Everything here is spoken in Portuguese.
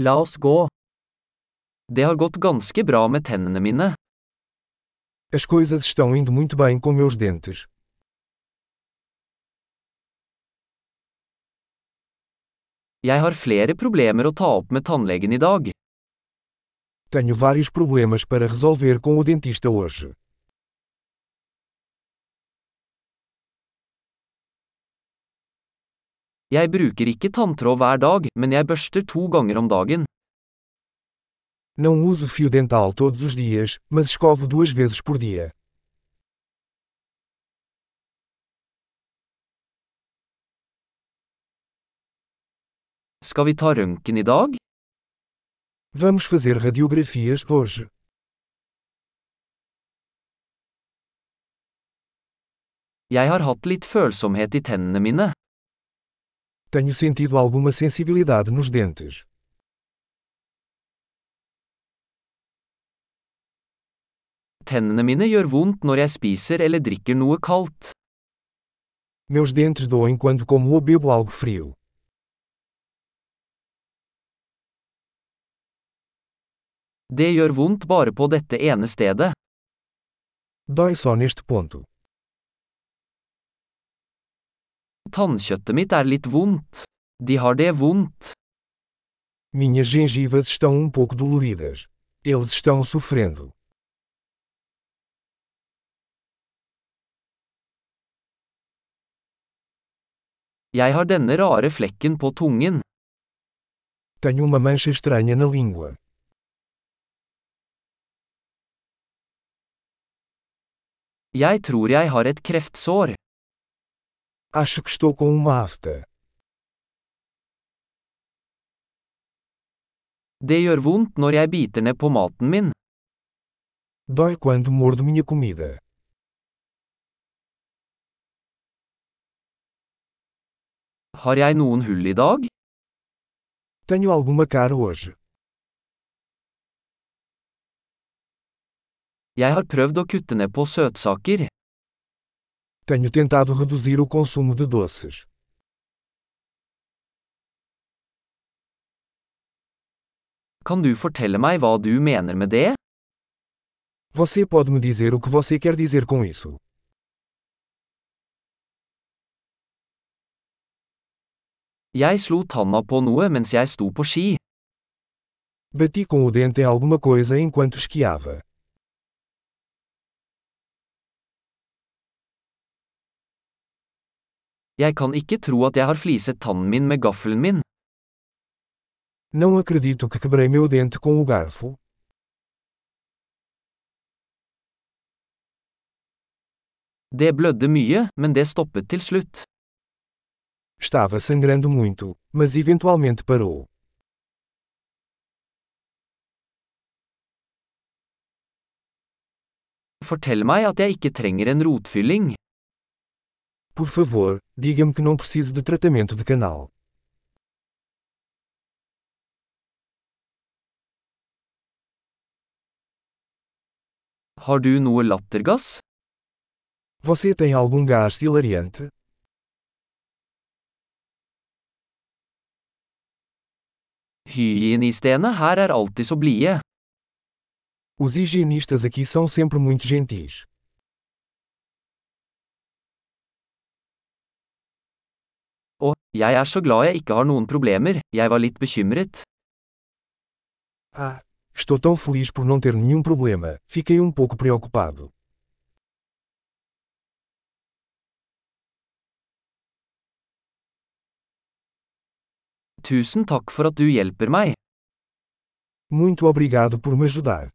La oss gå. Det har gått ganske bra med tennene mine. As coisas estão indo muito bem com meus dentes. Jeg har flere problemer å ta opp med tannlegen i dag. Tenho vários problemas para resolver com o dentista hoje. Jeg bruker ikke tanntråd hver dag, men jeg børster to ganger om dagen. Não uso fio dental todos os dias, mas escovo duas vezes por dia. Skal vi ta røntgen i dag? Vamos fazer radiografias hoje. Jeg har hatt litt følsomhet i tennene mine. Tenho sentido alguma sensibilidade nos dentes. Tennene mine gjør vondt når jeg spiser eller drikker noe kaldt. Meus dentes doem quando como ou bebo algo frio. Det gjør vondt bare på dette ene stedet. Dói só neste ponto. Tannkjøttet mitt er litt vondt. De har det vondt. Minhas gengivas estão um pouco doloridas. Eles estão sofrendo. Jeg har denne rare flekken på tungen. Tenho uma mancha estranha na língua. Jeg tror jeg har et kreftsår. Acho que estou com uma afta. Det gjør vondt når jeg biter ned på maten min. Dói quando mordo minha comida. Har jeg noen hull i dag? Tenho alguma cara hoje. Jeg har prøvd å kutte ned på søtsaker. Tenho tentado reduzir o consumo de doces. Kan du fortelle meg hva du mener med det? Você pode me dizer o que você quer dizer com isso? Jeg slo tanna på noe mens jeg sto på ski. Bati com o dente em alguma coisa enquanto esquiava. Jeg kan ikke tro at jeg har fliset tannen min med gaffelen min. Não acredito que quebrei meu dente com o garfo. Det blødde mye, men det stoppet til slutt. Estava sangrando muito, mas eventualmente parou. Fortell meg at jeg ikke trenger en rotfylling. Por favor, diga-me que não preciso de tratamento de canal. Har du noe lattergass? Você tem algum gás hilariante? Hygienistene her er alltid så blide. Os higienistas aqui são sempre muito gentis. Og, jeg er så glad jeg ikke har noen problemer, jeg var litt bekymret. Ah, estou tão feliz por não ter nenhum problema, fiquei um pouco preocupado. Tusen takk for at du hjelper meg. Muito obrigado por me ajudar.